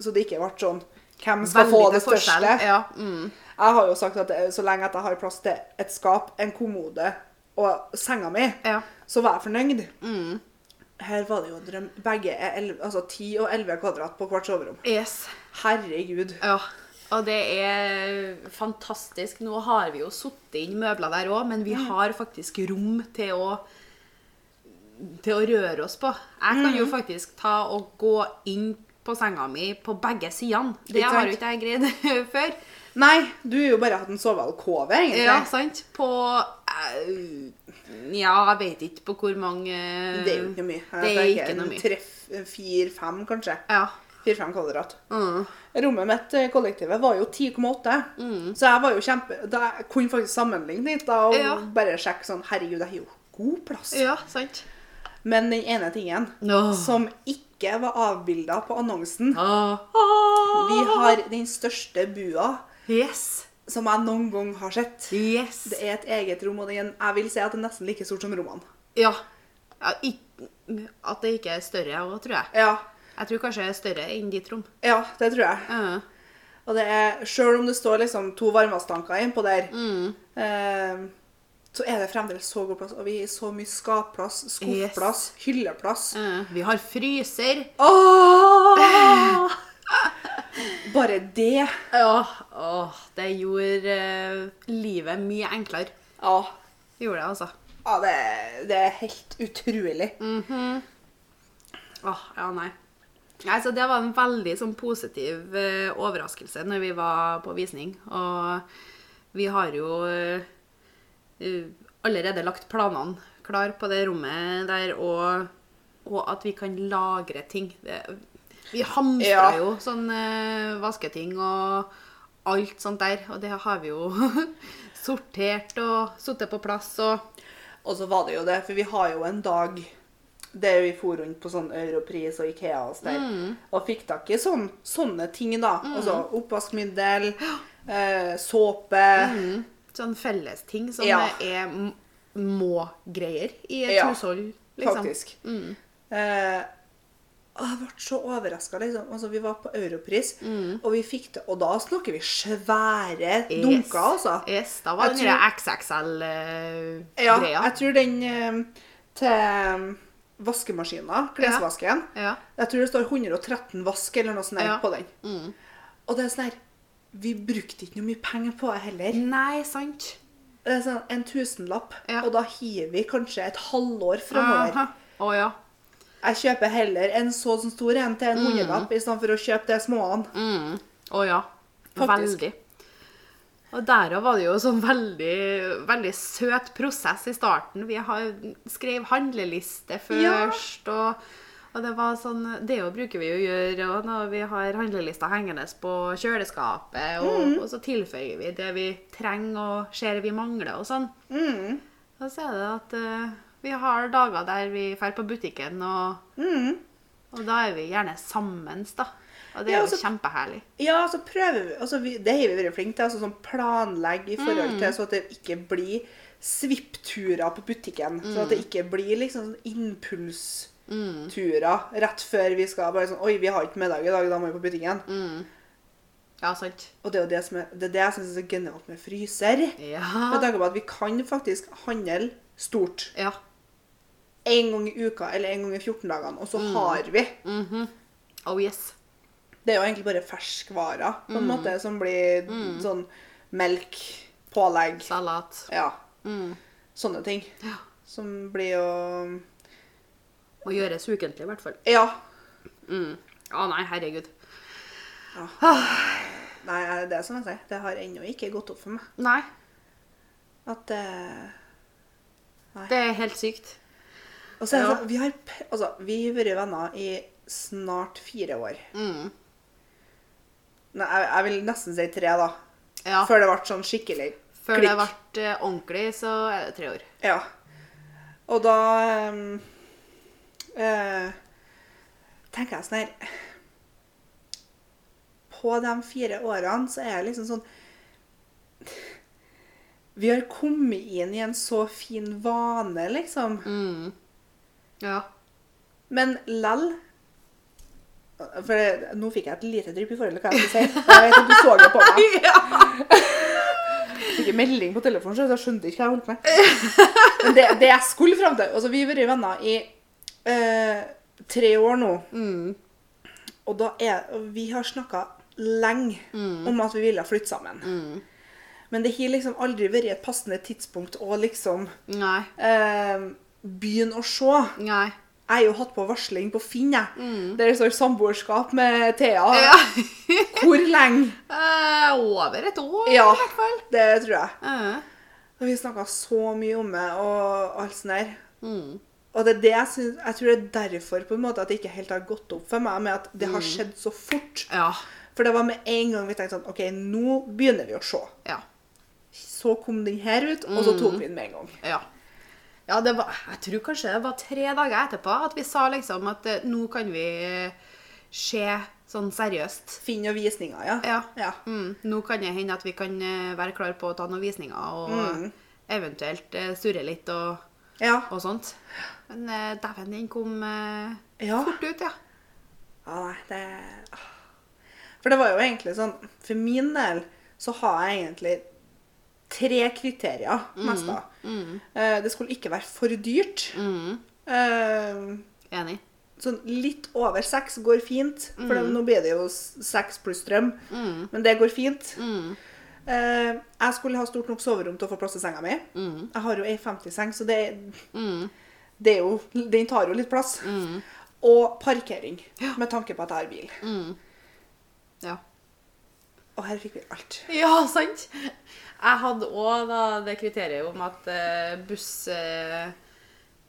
A: Så det ikke ble sånn Hvem skal få det
B: til forskjell.
A: største?
B: Ja. Mm.
A: Jeg har jo sagt at det- så lenge at jeg har plass til et skap, en kommode og senga mi,
B: Ja.
A: så var jeg fornøyd.
B: Mm.
A: Her var det jo drøm. Begge er 11, altså 10 og 11 kvadrat på hvert soverom.
B: Yes.
A: Herregud.
B: Ja, og det er fantastisk. Nå har vi jo sittet inn møbler der òg, men
A: Mm.
B: vi har faktisk rom til å til å røre oss på. Jeg kan
A: Mm.
B: jo faktisk ta og gå inn på senga mi på begge sidene. Det
A: Ikke
B: har
A: sant?
B: jo ikke jeg greid før.
A: Nei, du har jo bare hatt en sovealkove, egentlig.
B: Ja, sant? På eh, Ja, jeg vet ikke på hvor mange
A: Det er jo ikke noe mye. Jeg
B: Det er
A: tenker
B: ikke noe
A: en
B: mye.
A: tre- Fire-fem, kanskje.
B: Ja.
A: Fire-fem kvadrat.
B: Mm.
A: Rommet mitt, eh, kollektivet, var jo 10,8.
B: Mm.
A: Så jeg var jo kjempe... Da jeg kunne faktisk sammenligne litt da, og
B: Ja.
A: bare sjekke sånn Herregud, jeg har jo god plass.
B: ja, sant?
A: Men den ene tingen
B: Nå.
A: som ikke var avbilda på annonsen
B: Ah.
A: Vi har den største bua
B: Yes.
A: som jeg noen gang har sett.
B: Yes.
A: Det er et eget rom, og det er en, jeg vil si at det er nesten like stort som rommene.
B: Ja. ja ikk- at det ikke er større òg, tror jeg.
A: Ja,
B: Jeg tror kanskje det er større enn ditt rom.
A: ja, det tror jeg.
B: Ja.
A: Og det er, Sjøl om det står liksom to varmeavstanker innpå der, eh, så er det fremdeles så god plass. Og vi har så mye skapplass, skuffplass, hylleplass.
B: Ja. Vi har fryser.
A: Åh! Bare det.
B: Åh, åh, det gjorde eh, livet mye enklere.
A: Ja,
B: Det gjorde det, altså.
A: ja det, det er helt utrolig.
B: Åh, ja, nei. Nei, så det var en veldig sånn, positiv eh, overraskelse når vi var på visning. Og vi har jo eh, eh, allerede lagt planene klar på det rommet der, og, og at vi kan lagre ting. Det, vi hamstra
A: Ja.
B: jo sånn eh, vasketing og alt sånt der, og det har vi jo sortert og sittet på plass og
A: Og så var det jo det, for vi har jo en dag der vi for rundt på sånn Europris og Ikea og sånn der, og fikk tak i sånn, sånne ting da. Altså oppvaskmiddel, eh, såpe.
B: sånn fellesting som
A: Ja.
B: er m- må-greier i et
A: Ja,
B: hushold. Liksom.
A: Faktisk. Eh, og jeg ble så overraska. Liksom. Altså, vi var på Europris,
B: Mm.
A: og vi fikk det Og da snakker vi svære dunker, altså.
B: Yes, da var
A: Jeg
B: det den XXL-greia.
A: Ja, jeg tror den eh, til vaskemaskiner, klesvasken.
B: Ja.
A: Jeg tror det står 113 vask eller noe sånt der
B: Ja. Mm.
A: på den. Og det er sånn her Vi brukte ikke noe mye penger på det heller.
B: Nei, sant.
A: Det er sånn en tusenlapp,
B: Ja.
A: og da hiver vi kanskje et halvår framover.
B: Aha. Å ja.
A: Jeg kjøper heller en så sånn stor en til en hundrelapp i stedet for å kjøpe de småene.
B: Mm. Å ja.
A: Faktisk.
B: Veldig. Og derav var det jo sånn veldig, veldig søt prosess i starten. Vi har skrev handleliste
A: Ja.
B: først, og, og det var sånn Det jo bruker vi jo å gjøre og når vi har handlelista hengende på kjøleskapet, og,
A: Mm.
B: og så tilføyer vi det vi trenger og ser vi mangler og sånn.
A: Mm.
B: Og så er det at eh, vi har dager der vi drar på butikken, og,
A: Mm.
B: og da er vi gjerne sammen, da. Og det
A: Ja,
B: er
A: altså, og så-
B: jo kjempeherlig.
A: Ja, så prøver vi, altså vi Det har vi vært flinke til. altså sånn Planlegge i
B: Mm.
A: forhold til så at det ikke blir svippturer på butikken. Sånn at det
B: Mm.
A: ikke blir liksom sånn impulsturer rett før vi skal bare sånn Oi, vi har ikke middag i dag, da må vi på butikken.
B: Mm. Ja, sant.
A: Og det er jo det som er det, er det jeg syns er så genialt med fryser. Med
B: Ja.
A: tanke på at vi kan faktisk handle stort
B: ja.
A: én gang i uka eller en gang i 14 dagene, og så
B: Mm.
A: har vi.
B: Oh yes.
A: Det er jo egentlig bare ferskvarer på
B: Mm.
A: en måte som blir sånn melk, pålegg
B: Salat.
A: Ja. Sånne ting.
B: Mm. Ja.
A: Som blir jo
B: Må gjøres ukentlig, i hvert fall.
A: Ja.
B: Mm. Å nei, herregud.
A: Nei, eh, det er det som jeg sier. Det har ennå ikke gått opp for meg.
B: Nei,
A: At eh,
B: det er helt sykt.
A: Og så er det
B: Ja.
A: sånn, vi har p- altså, vi har vært venner i snart fire år.
B: Mm.
A: Nei, jeg, jeg vil nesten si tre, da.
B: Ja. Før,
A: Før det ble sånn skikkelig
B: det ble eh, ordentlig, så er det tre år.
A: Ja. Og da ehm, eh, tenker jeg sånn her På de fire årene så er jeg liksom sånn Vi har kommet inn i en så fin vane, liksom.
B: Mm. Ja.
A: Men lell For det, nå fikk jeg et lite drypp i forhold til hva jeg skulle si. Jeg vet at du så det på meg. Jeg fikk en melding på telefonen, så jeg skjønte ikke hva jeg holdt på med. Men det, det jeg skulle fram til altså Vi har vært venner i eh, tre år nå.
B: Mm.
A: Og da er, og vi har snakka lenge om at vi ville flytte sammen. Men det har liksom aldri vært et passende tidspunkt å liksom
B: Nei.
A: eh, begynne å se.
B: Nei.
A: Jeg har jo hatt på varsling på Finn, jeg. Der det står 'samboerskap med Thea'.
B: Mm. Ja.
A: Hvor lenge?
B: Eh, over et år,
A: Ja,
B: i hvert fall.
A: det tror jeg.
B: Eh.
A: Og vi snakka så mye om det og alt sånt der.
B: Mm.
A: Og det er det jeg syns Jeg tror det er derfor på en måte at det ikke helt har gått opp for meg, med at det
B: Mm.
A: har skjedd så fort.
B: Ja.
A: For det var med en gang vi tenkte sånn OK, nå begynner vi å se.
B: Ja.
A: Så kom den her ut, og
B: Mm.
A: så tok vi den med en gang.
B: Ja. Ja, det var, jeg tror kanskje det var tre dager etterpå at vi sa liksom at eh, nå kan vi eh, se sånn seriøst.
A: Finn og visninger, ja.
B: Ja.
A: ja.
B: Mm, nå kan det hende at vi kan eh, være klar på å ta noen visninger og eventuelt eh, surre litt og,
A: Ja.
B: og sånt. Men eh, dæven, den kom eh,
A: Ja.
B: fort ut, ja.
A: Ja, nei, det åh. For det var jo egentlig sånn For min del så har jeg egentlig tre kriterier, mest da. Eh, Det skulle ikke være for dyrt. Eh,
B: Enig.
A: Sånn litt over seks går fint, for nå blir det jo s- seks pluss strøm. Men det går fint. Eh, jeg skulle ha stort nok soverom til å få plass til senga mi. Jeg har jo ei 50-seng, så det, Mm. det er jo, den tar jo litt plass. Og parkering, med tanke på at jeg har bil.
B: Ja.
A: Og her fikk vi alt.
B: Ja, sant. Jeg hadde òg det kriteriet om at eh, buss... eh,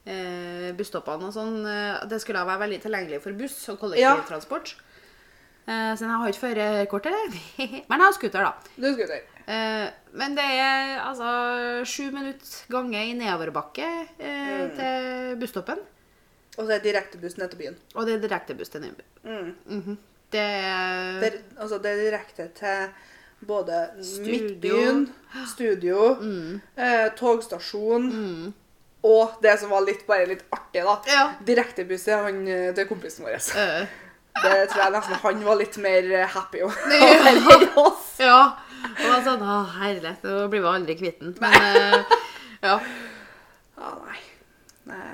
B: eh, busstoppene og sånn eh, at Det skulle være veldig tilgjengelig for buss og kollektivtransport. Eh, siden jeg har ikke førerkort, eller? Men jeg har scooter, da.
A: Du skulle til.
B: Eh, men det er altså sju minutter gange i nedoverbakke eh,
A: Mm.
B: til busstoppen.
A: Og så er det direktebuss ned til byen.
B: Og det er direktebuss til Nyby.
A: Mm.
B: Mhm. Det er
A: Det, er- altså, det er direkte til både
B: Studio. Mm.
A: Midtbyen, studio, eh, togstasjon og det som var litt, bare litt artig, da.
B: Ja.
A: Direktebuss til han, eh, til kompisen vår.
B: øh,
A: Det tror jeg nesten han var litt mer eh, happy om.
B: Ja. Og det var sånn Å, herlighet, nå blir vi aldri kvitt den. Men eh, ja.
A: Ja, nei. Nei,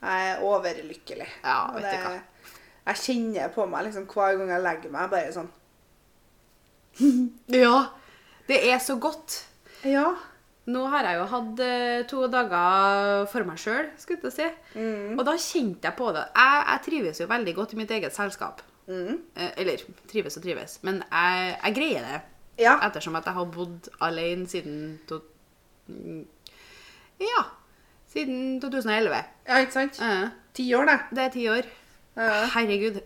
A: jeg er overlykkelig.
B: Ja,
A: Og
B: vet du hva.
A: Jeg kjenner på meg liksom hver gang jeg legger meg, bare sånn
B: Ja. Det er så godt.
A: Ja.
B: Nå har jeg jo hatt eh, to dager for meg sjøl, skulle jeg til å si.
A: Mm.
B: Og da kjente jeg på det. Jeg, jeg trives jo veldig godt i mitt eget selskap.
A: Mm.
B: Eh, eller trives og trives, men jeg, jeg greier det.
A: Ja.
B: Ettersom at jeg har bodd alene siden to, mm, Ja. Siden 2011.
A: ja, ikke sant?
B: Eh,
A: Ti år, det.
B: det er ti år.
A: Ja.
B: Herregud.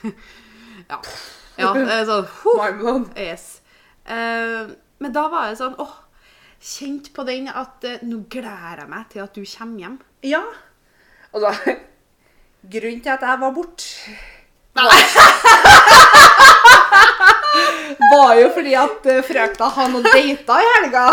B: ja. ja. Det er sånn huh.
A: Mindblown.
B: Yes. Eh, men da var jeg sånn åh, Kjent på den at eh, nå gleder jeg meg til at du kommer hjem.
A: Ja. Og da Grunnen til at jeg var borte, var jo fordi at eh, frøkna har noen dater i helga.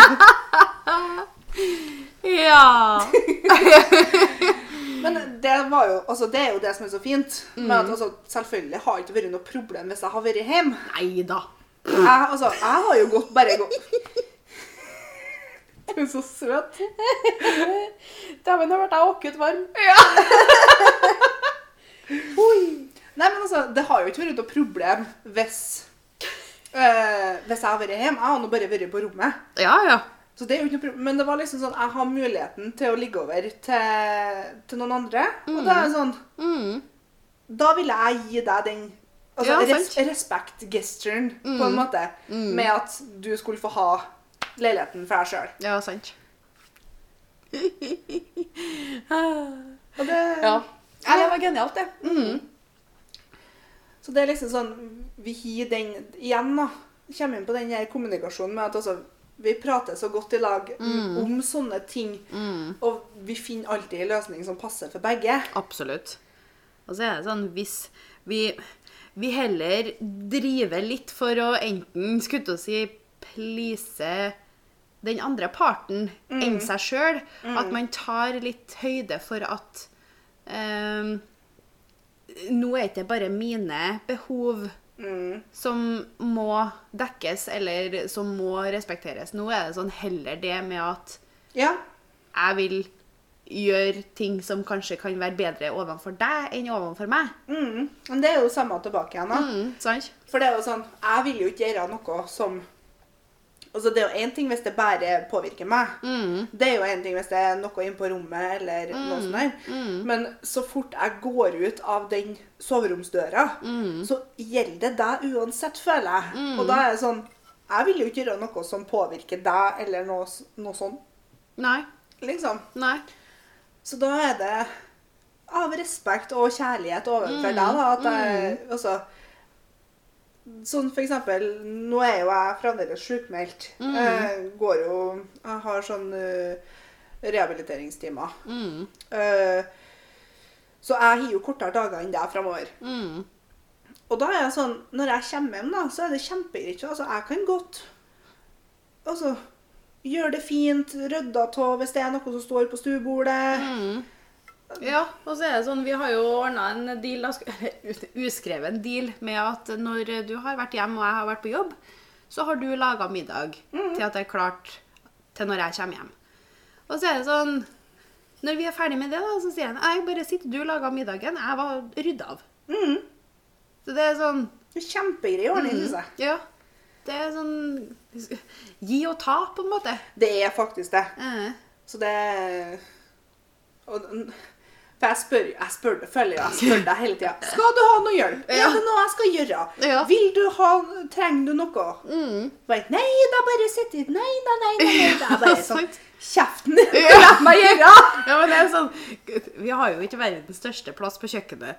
B: Ja!
A: Men det var jo Altså, det er jo det som er så fint. Men at, altså, selvfølgelig har det ikke vært noe problem hvis jeg har vært hjemme.
B: Nei da.
A: Jeg, altså, jeg har jo gått bare gått Du er så søt.
B: Dæven, nå ble jeg åkket varm.
A: Nei, men altså, det har jo ikke vært noe problem hvis eh, Hvis jeg har vært hjemme. Jeg har nå bare vært på rommet.
B: Ja, ja.
A: Så det er jo ikke noe problem. Men det var liksom sånn, jeg har muligheten til å ligge over til, til noen andre. Og da er det sånn
B: Mm.
A: Da ville jeg gi deg den altså,
B: Ja,
A: res
B: sant. Mm.
A: respekt-gesturen, på en måte, med at du skulle få ha leiligheten for deg sjøl.
B: Ja, sant.
A: Og det
B: Ja, det var genialt, det.
A: Så det er liksom sånn Vi gir den igjen, da. Kommer inn på den her kommunikasjonen med at altså vi prater så godt i lag
B: Mm.
A: om sånne ting, og vi finner alltid en løsning som passer for begge.
B: Absolutt. Og så er det sånn, hvis vi, vi heller driver litt for å enten, skulle til å si, please den andre parten enn seg sjøl, at man tar litt høyde for at ehm, nå er ikke det bare mine behov som må dekkes, eller som må respekteres. Nå er det sånn heller det med at
A: Ja.
B: jeg vil gjøre ting som kanskje kan være bedre overfor deg enn overfor meg.
A: Mm. Men det er jo samme tilbake igjen, da.
B: Mm, sant?
A: For det er jo sånn Jeg vil jo ikke gjøre noe som Altså, det er jo én ting hvis det bare påvirker meg. Det er jo én ting hvis det er noe inne på rommet eller noe sånt der. Men så fort jeg går ut av den soveromsdøra, så gjelder det deg uansett, føler jeg. Og da er det sånn Jeg vil jo ikke gjøre noe som påvirker deg, eller noe, s- noe sånn,
B: Nei.
A: liksom.
B: Nei.
A: Så da er det av respekt og kjærlighet
B: Mm.
A: overfor deg, da, at jeg altså Sånn for eksempel Nå er jo jeg fremdeles sjukmeldt.
B: Mm.
A: Jeg går jo Jeg har sånn eh, rehabiliteringstimer.
B: Mm,
A: Eh, så jeg har jo kortere dager enn deg framover.
B: mm,
A: Og da er jeg sånn Når jeg kommer hjem, da, så er det kjempegreit. Altså, jeg kan godt Altså Gjøre det fint, rydde av hvis det er noe som står på stuebordet.
B: mm. Ja, og så er det sånn, vi har jo ordna en deal, da sk- eller us- uskreven deal, med at når du har vært hjemme og jeg har vært på jobb, så har du laga middag til at det er klart til når jeg kommer hjem. Og så er det sånn Når vi er ferdig med det, da, så sier han jeg bare sitter du og lager middagen. Jeg var rydda av.
A: Mm.
B: Så det er sånn
A: Det er Kjempegrei
B: Mm.
A: ordning, synes jeg.
B: Ja. Det er sånn Gi og ta, på en måte.
A: Det er faktisk det.
B: Eh,
A: Så det og, For jeg spør, jeg spør, føler jo jeg spør deg hele tida. Skal du ha noe hjelp?
B: Ja.
A: Er det noe jeg skal gjøre?
B: Ja. Mm.
A: Vil du ha Trenger du noe? Bare, nei, da bare sitter jeg Nei, nei, nei. nei, nei. Det er bare sånn
B: Sant.
A: Kjeften din! La meg gjøre!
B: Ja, men det er sånn Vi har jo ikke verdens største plass på kjøkkenet.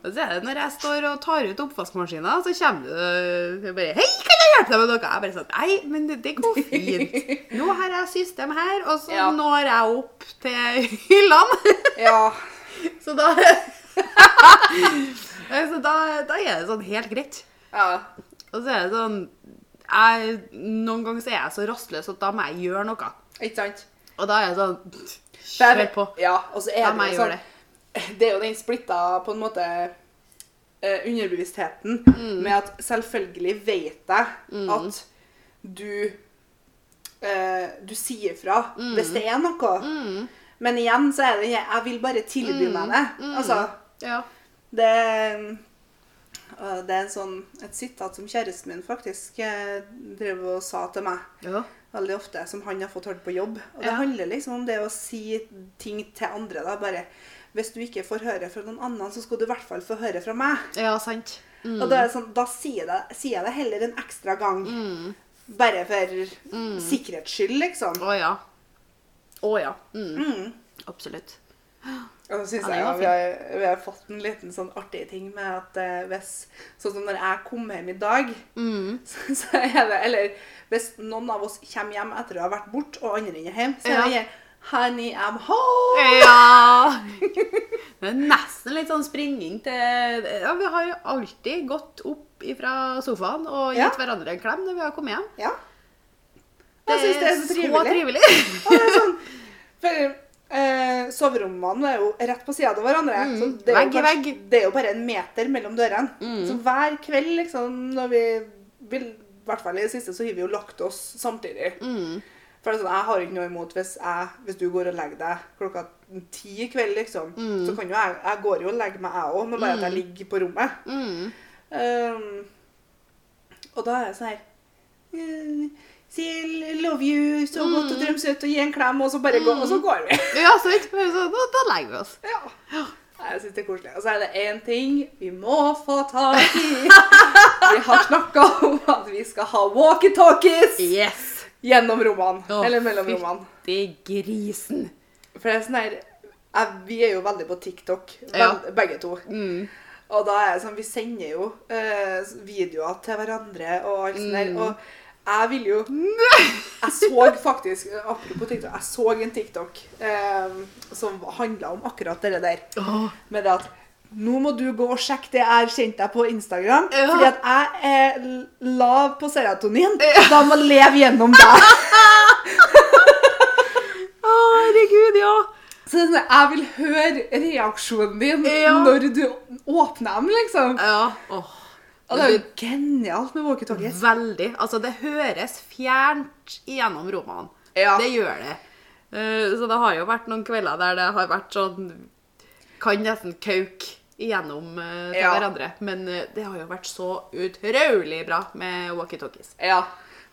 B: Og så er det når jeg står og tar ut oppvaskmaskina, så kommer du og bare 'Hei, kan jeg hjelpe deg med noe?' Jeg bare sånn Nei, men det, det går fint. Nå har jeg system her, og så
A: Ja.
B: når jeg opp til hyllene.
A: Ja.
B: Så da Så da, da er det sånn helt greit.
A: ja.
B: Og så er det sånn jeg, Noen ganger så er jeg så rastløs at da må jeg gjøre noe.
A: Ikke sant?
B: Og da er jeg sånn
A: For
B: Kjør
A: jeg-
B: på.
A: Ja, og så er
B: La
A: det
B: meg
A: jo
B: gjøre
A: sånn
B: det.
A: Det er jo den splitta på en måte eh, underbevisstheten
B: Mm.
A: med at selvfølgelig vet jeg at
B: Mm.
A: du eh, Du sier fra hvis det er noe. Men igjen så er det Jeg vil bare tilby
B: Mm.
A: meg det. Altså,
B: Ja.
A: det og Det er sånn, et sitat som kjæresten min faktisk eh, drev og sa til meg
B: ja.
A: veldig ofte, som han har fått hørt på jobb. Og det
B: Ja.
A: handler liksom om det å si ting til andre. da, bare Hvis du ikke får høre fra noen annen, så skal du i hvert fall få høre fra meg.
B: Ja, sant.
A: Og da, er det sånn, da sier, jeg det, sier jeg det heller en ekstra gang.
B: Mm.
A: Bare for sikkerhets skyld, liksom.
B: Å ja. Å ja. Mm. Absolutt.
A: Og så synes
B: Ja, det
A: jeg
B: var
A: ja, vi, har, vi har fått en liten sånn artig ting med at eh, hvis Sånn som når jeg kom hjem i dag,
B: Mm.
A: så, så er det Eller hvis noen av oss kommer hjem etter å ha vært borte, og andre er hjemme, så er det
B: Ja.
A: Honey, I'm home!
B: Ja! Det er nesten litt sånn springing til Ja, vi har jo alltid gått opp fra sofaen og gitt
A: Ja.
B: hverandre en klem når vi har kommet hjem.
A: Ja. Jeg syns det er så trivelig.
B: trivelig.
A: Og det er sånn, for eh, soverommene er jo rett på sida av hverandre. så det er
B: Mm, Vegg i
A: jo kanskje-
B: vegg. Mm.
A: Det er jo bare en meter mellom dørene. Så hver kveld, liksom, når vi vil, i hvert fall i det siste, så har vi jo lagt oss samtidig.
B: Mm.
A: For det er sånn, Jeg har jo ikke noe imot hvis, jeg, hvis du går og legger deg klokka ti i kveld, liksom.
B: Mm.
A: Så kan jo jeg Jeg går jo og legger meg, jeg òg, men bare at jeg ligger på rommet.
B: Mm.
A: Um, og da er jeg sånn her eh, Si I love you, så godt og drømsøt, og gi en klem, og så bare gå, og så går vi.
B: Ja, sant. Men så, da, da legger vi oss.
A: ja. Nei, Jeg syns det er koselig. Og så er det én ting vi må få tak i. Vi har snakka om at vi skal ha walkietalkies
B: Yes!
A: gjennom rommene.
B: Å,
A: eller mellom rommene.
B: Fytti grisen.
A: For det er sånn her jeg- Vi er jo veldig på TikTok, beg-
B: Ja. Mm.
A: begge to. Og da er det sånn Vi sender jo eh, videoer til hverandre og alt
B: Mm.
A: sånt der. Og jeg vil jo Jeg så faktisk Apropos TikTok, jeg så en TikTok eh, som handla om akkurat det der.
B: Åh.
A: Med det at nå må du gå og sjekke det jeg har kjent deg på Instagram.
B: Ja.
A: Fordi at jeg er l- lav på serotonin. Da må jeg leve gjennom deg.
B: Å, herregud, ja.
A: Så det er sånn, jeg vil høre reaksjonen din
B: Ja.
A: når du åpner dem, liksom.
B: Ja. Åh.
A: Og det er jo genialt med walkietalkies.
B: Veldig. Altså, det høres fjernt gjennom rommene.
A: Ja.
B: Det gjør det. Eh, så det har jo vært noen kvelder der det har vært sånn Kan nesten kauke igjennom eh, til
A: Ja.
B: hverandre. Men eh, det har jo vært så utrolig bra med walkietalkies.
A: Ja.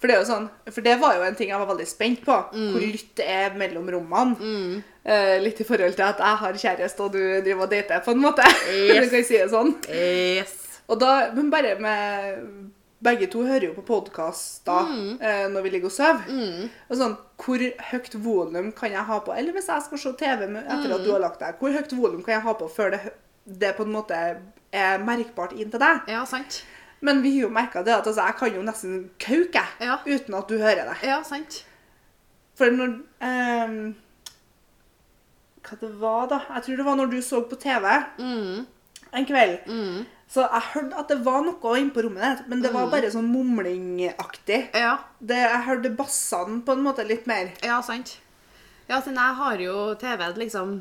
A: For det er jo sånn, for det var jo en ting jeg var veldig spent på.
B: Mm.
A: Hvor lytt det er mellom rommene. Eh, litt i forhold til at jeg har kjæreste, og du driver og dater, på en måte.
B: Yes.
A: du kan si det sånn.
B: Yes.
A: Og da, men bare med Begge to hører jo på podkast da, eh, når vi ligger og sover. Og sånn, hvor høyt volum kan jeg ha på? Eller hvis jeg skal se TV med- etter at du har lagt deg, hvor høyt volum kan jeg ha på før det, hø- det på en måte er merkbart inn til deg?
B: Ja, sant.
A: Men vi har jo merka det at altså, jeg kan jo nesten kauke jeg,
B: Ja.
A: uten at du hører det.
B: Ja, sant.
A: For når ehm, Hva det var da? Jeg tror det var når du så på TV Mm. en kveld. Så jeg hørte at det var noe inne på rommet ditt, men det var bare sånn mumlingaktig.
B: Ja.
A: Det, jeg hørte bassene på en måte litt mer.
B: Ja, sant. Ja, siden jeg har jo TV-en liksom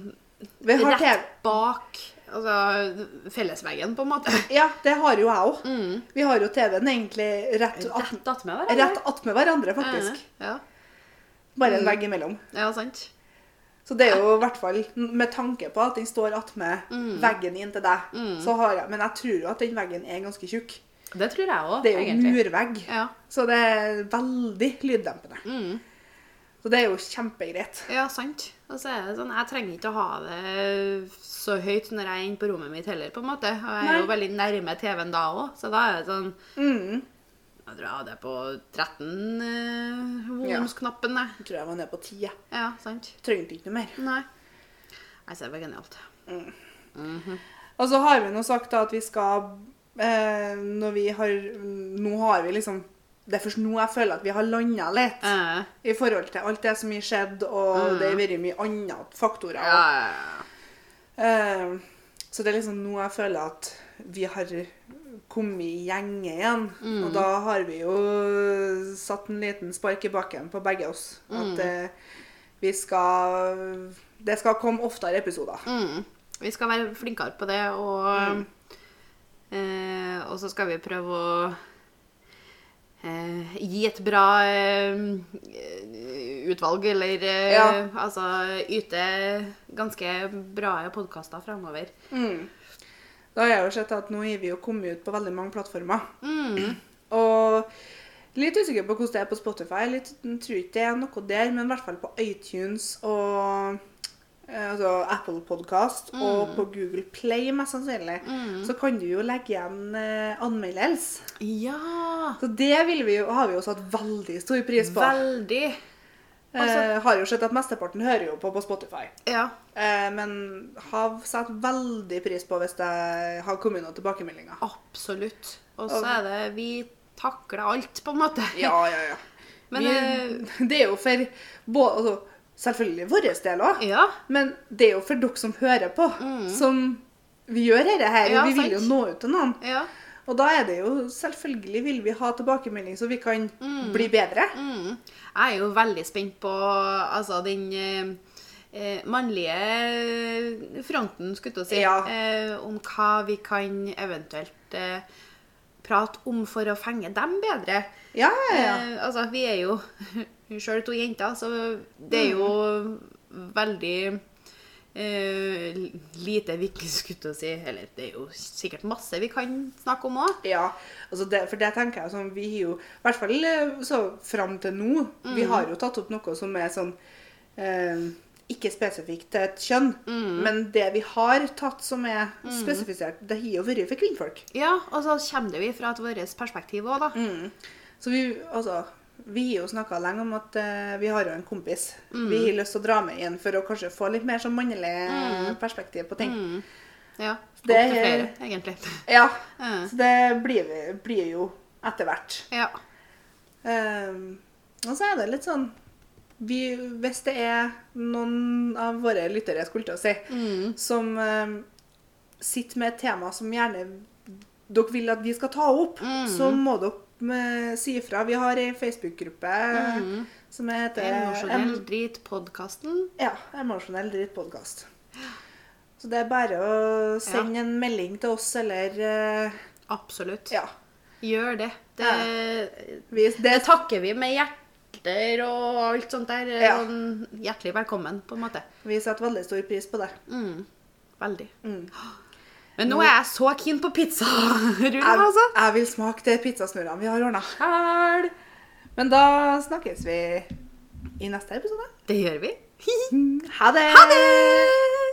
A: Vi har
B: rett
A: TV.
B: bak altså, fellesveggen, på en måte.
A: Ja, det har jo jeg òg. Vi har jo TV-en egentlig Mm. rett at- Mm.
B: Rett attmed hverandre.
A: rett attmed hverandre, faktisk.
B: Ja,
A: Bare en vegg imellom.
B: ja, sant.
A: Så det er jo i hvert fall med tanke på at den står attmed veggen inn til deg. Så har jeg, men jeg tror jo at den veggen er ganske tjukk.
B: Det tror jeg òg,
A: Det er jo
B: egentlig.
A: murvegg,
B: Ja. Mm.
A: så det er veldig lyddempende. Så det er jo kjempegreit.
B: ja, sant. Og så er det sånn, Jeg trenger ikke å ha det så høyt når jeg er inne på rommet mitt heller, på en måte. Og jeg er jo
A: Nei. Mm.
B: veldig nærme TV-en da òg, så da er det sånn Jeg tror jeg hadde på 13 eh, volumsknappen, jeg.
A: Jeg tror jeg var nede på ti. jeg.
B: Ja, sant.
A: Trengte ikke noe mer.
B: Nei. Nei, så det var genialt.
A: Og så har vi nå sagt da at vi skal eh, Når vi har Nå har vi liksom Det er først nå jeg føler at vi har landa litt.
B: Eh,
A: I forhold til alt det som har skjedd, og det har vært mye andre faktorer.
B: Mm.
A: og-
B: ja, ja, ja.
A: Eh, så det er liksom nå jeg føler at vi har kommet i gjenge igjen. Og da har vi jo satt en liten spark i bakken på begge oss. At eh, vi skal Det skal komme oftere episoder.
B: Mm. Vi skal være flinkere på det, og, eh, og så skal vi prøve å eh, gi et bra eh, utvalg, eller eh,
A: Ja.
B: altså yte ganske bra podkaster framover.
A: Da har jeg jo sett at nå er vi jo kommet ut på veldig mange plattformer. Mm. Og litt usikker på hvordan det er på Spotify. Litt, jeg tror ikke det er noe der, men i hvert fall på iTunes og eh, altså Apple Podcast og på Google Play mest sannsynlig, så kan du jo legge igjen eh, anmeldelse.
B: Ja!
A: Så det vil vi jo, har vi jo satt veldig stor pris på.
B: Veldig.
A: eh, har jo sett at mesteparten hører jo på på Spotify.
B: Ja.
A: Eh, men har satt veldig pris på hvis det har kommet noen tilbakemeldinger.
B: Absolutt. Og så er det Vi takler alt, på en måte.
A: Ja, ja, ja.
B: Men, eh,
A: vi, det er jo for både, altså, Selvfølgelig vår del òg,
B: Ja. Mm.
A: men det er jo for dere som hører på, som vi gjør dette her.
B: Ja,
A: vi vil jo
B: sant.
A: nå ut til noen.
B: ja.
A: Og da er det jo Selvfølgelig vil vi ha tilbakemelding, så vi kan bli bedre.
B: Mm. Jeg er jo veldig spent på altså, den eh, eh, mannlige fronten, skulle jeg til å si,
A: Ja.
B: eh, om hva vi kan eventuelt eh, prate om for å fenge dem bedre.
A: Ja, ja, ja.
B: Eh, altså, vi er jo sjøl to jenter, så det er jo veldig eh, lite vi ikke skulle til å si. Eller det er jo sikkert masse vi kan snakke om òg.
A: Ja, altså det, for det tenker jeg sånn, vi har jo, i hvert fall eh, så fram til nå, vi
B: Mm.
A: har jo tatt opp noe som er sånn, eh, ikke spesifikt til et kjønn,
B: Mm.
A: men det vi har tatt som er spesifisert, det har jo vært for kvinnfolk.
B: Ja, og så kommer det jo fra et vårt perspektiv òg, da.
A: Mm. Så vi, altså, vi har jo snakket lenge om at eh, vi har jo en kompis. Vi har lyst til å dra med igjen for å kanskje få litt mer sånn mannlig eh, perspektiv på ting.
B: Ja.
A: Det
B: opp til
A: er-
B: flere, egentlig.
A: Ja,
B: Mm.
A: så det blir, vi, blir jo etter hvert.
B: Ja.
A: Ehm, og så er det litt sånn vi, Hvis det er noen av våre lyttere, skulle jeg til å si, som ehm, sitter med et tema som gjerne dere vil at vi skal ta opp, så må dere eh, si ifra. Vi har ei Facebook-gruppe eh, som heter
B: Emosjonell
A: Em-
B: drit-podkasten.
A: ja, Emosjonell drittpodkast. Så det er bare å sende en melding til oss, eller eh,
B: Absolutt.
A: Ja.
B: Gjør det. Det,
A: Vi,
B: det
A: det,
B: takker vi med hjerter og alt sånt der.
A: Ja.
B: Sånn hjertelig velkommen, på en måte.
A: vi setter veldig stor pris på det.
B: Mm. Veldig.
A: Mm.
B: Men nå er jeg så keen på pizzarull,
A: Jeg,
B: altså.
A: jeg vil smake de pizzasnurrene vi har ordna sjæl. Men da snakkes vi i neste episode.
B: Det gjør vi.
A: Ha det! Ha det!